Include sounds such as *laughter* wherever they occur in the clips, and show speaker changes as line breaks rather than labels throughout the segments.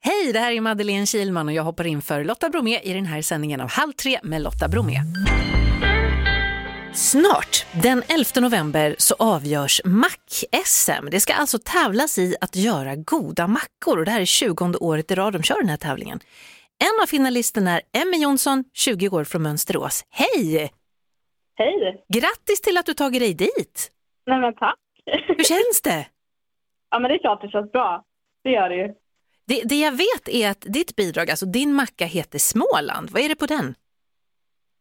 Hej, det här är Madeleine Kilman och jag hoppar in för Lotta Bromé i den här sändningen av Halv tre med Lotta Bromé. Snart, den 11 november, så avgörs Mack-SM. Det ska alltså tävlas i att göra goda mackor och det här är 20 året i rad de kör den här tävlingen. En av finalisterna är Emmy Jonsson, 20 år från Mönsterås. Hej!
Hej!
Grattis till att du tagit dig dit!
Nej men tack! *laughs*
Hur känns det?
Ja men det är klart det känns bra. Det gör det ju.
Det, det jag vet är att ditt bidrag, alltså din macka heter Småland. Vad är det på den?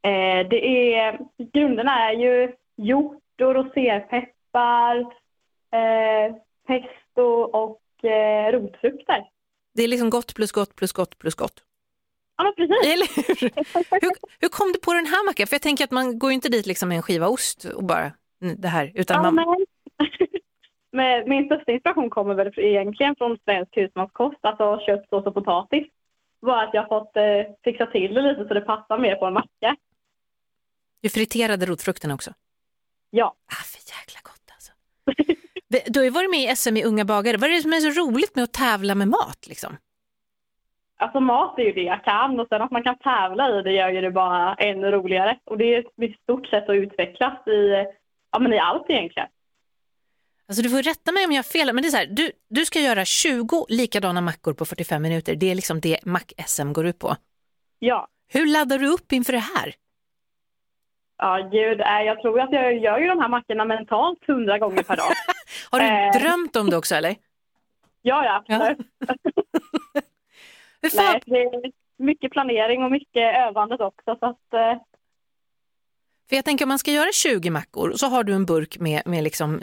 Eh, det är, grunderna är ju hjortor, rosépeppar, eh, pesto och eh, rotfrukter.
Det är liksom gott plus gott plus gott plus gott.
Ja men precis!
Eller hur? hur, hur kom du på den här mackan? För jag tänker att man går ju inte dit liksom med en skiva ost och bara "Mm, det här, utan
Ja,
man,
men... *laughs* men min största inspiration kommer väl egentligen från svensk husmanskost, alltså kött, sås och potatis. Bara att jag har fått eh, fixa till det lite så det passar mer på en macka.
du friterade rotfrukterna också.
Ja.
Ah, för jäkla gott alltså. *laughs* Det- Du har ju varit med i SM i Unga bagare. Vad är det som är så roligt med att tävla med mat liksom?
Alltså mat är ju det jag kan och sen att man kan tävla i det gör ju det bara ännu roligare. Och det är ett stort sätt att utvecklas i, ja, men i allt egentligen.
Alltså du får rätta mig om jag har fel, men det är så här, du, du ska göra 20 likadana mackor på 45 minuter. Det är liksom det mack-SM går ut på.
Ja,
Hur laddar du upp inför det här?
ja gud, eh, jag tror att jag gör ju de här mackorna mentalt hundra gånger
*laughs*
per dag.
Har du
Eh.
drömt om det också eller?
Ja, ja, absolut.
Hur fan,
Nej, det är mycket planering och mycket övandet också. Så att, eh,
För jag tänker om man ska göra 20 mackor och så har du en burk med, med liksom,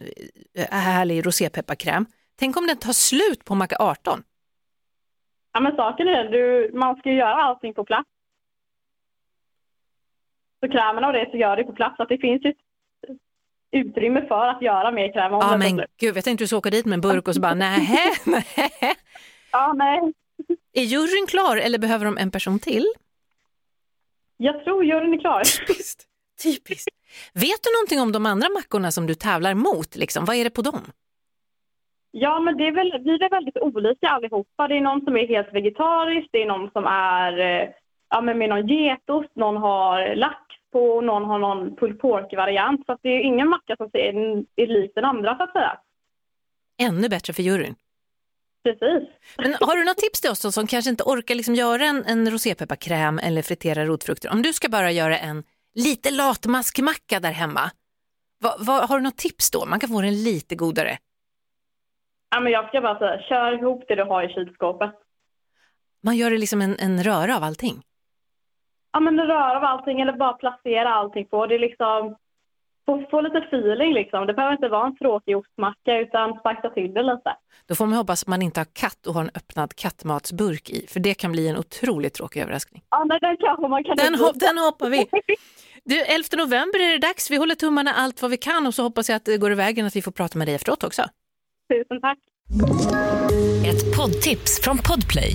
eh, härlig rosépepparkräm. Tänk om den tar slut på macka 18?
ja, men saken är den, du, man ska ju göra allting på plats. Så krämen och det så gör det på plats. Så att det finns ju ett utrymme för att göra mer kräm. om
Ja
det
men
behövs.
gud, jag tänkte du skulle åka dit med en burk och så *laughs* bara nähä, nähä.
ja, nej.
Är juryn klar eller behöver de en person till?
Jag tror juryn är klar.
Typiskt. Typiskt. Vet du någonting om de andra mackorna som du tävlar mot? Liksom? Vad är det på dem?
Ja, men det är väl, vi är väl väldigt olika allihopa. Det är någon som är helt vegetarisk, det är någon som är eh, ja, men med någon getost, någon har lax på, någon har någon pulled pork-variant. Så att det är ingen macka som ser- är lik den andra, så att säga.
Ännu bättre för juryn.
Precis.
Men har du något tips till oss då, som kanske inte orkar liksom göra en, en rosépepparkräm eller fritera rotfrukter? Om du ska bara göra en lite latmaskmacka där hemma, vad, vad, har du något tips då? Man kan få den lite godare.
Ja, men jag ska bara säga, kör ihop det du har i kylskåpet.
Man gör det liksom en, en röra av allting.
Ja, men rör av allting eller bara placera allting på. Det är liksom, få, få lite feeling liksom. Det behöver inte vara en tråkig ostmacka, utan sparka till det lite.
Då får man hoppas att man inte har katt och har en öppnad kattmatsburk i, för det kan bli en otroligt tråkig överraskning.
Ja, men den kanske man kan
Den, hopp, den hoppar vi! Du, 11 november är det dags. Vi håller tummarna allt vad vi kan och så hoppas jag att det går i vägen att vi får prata med dig efteråt också.
Tusen tack.
Ett poddtips från Podplay.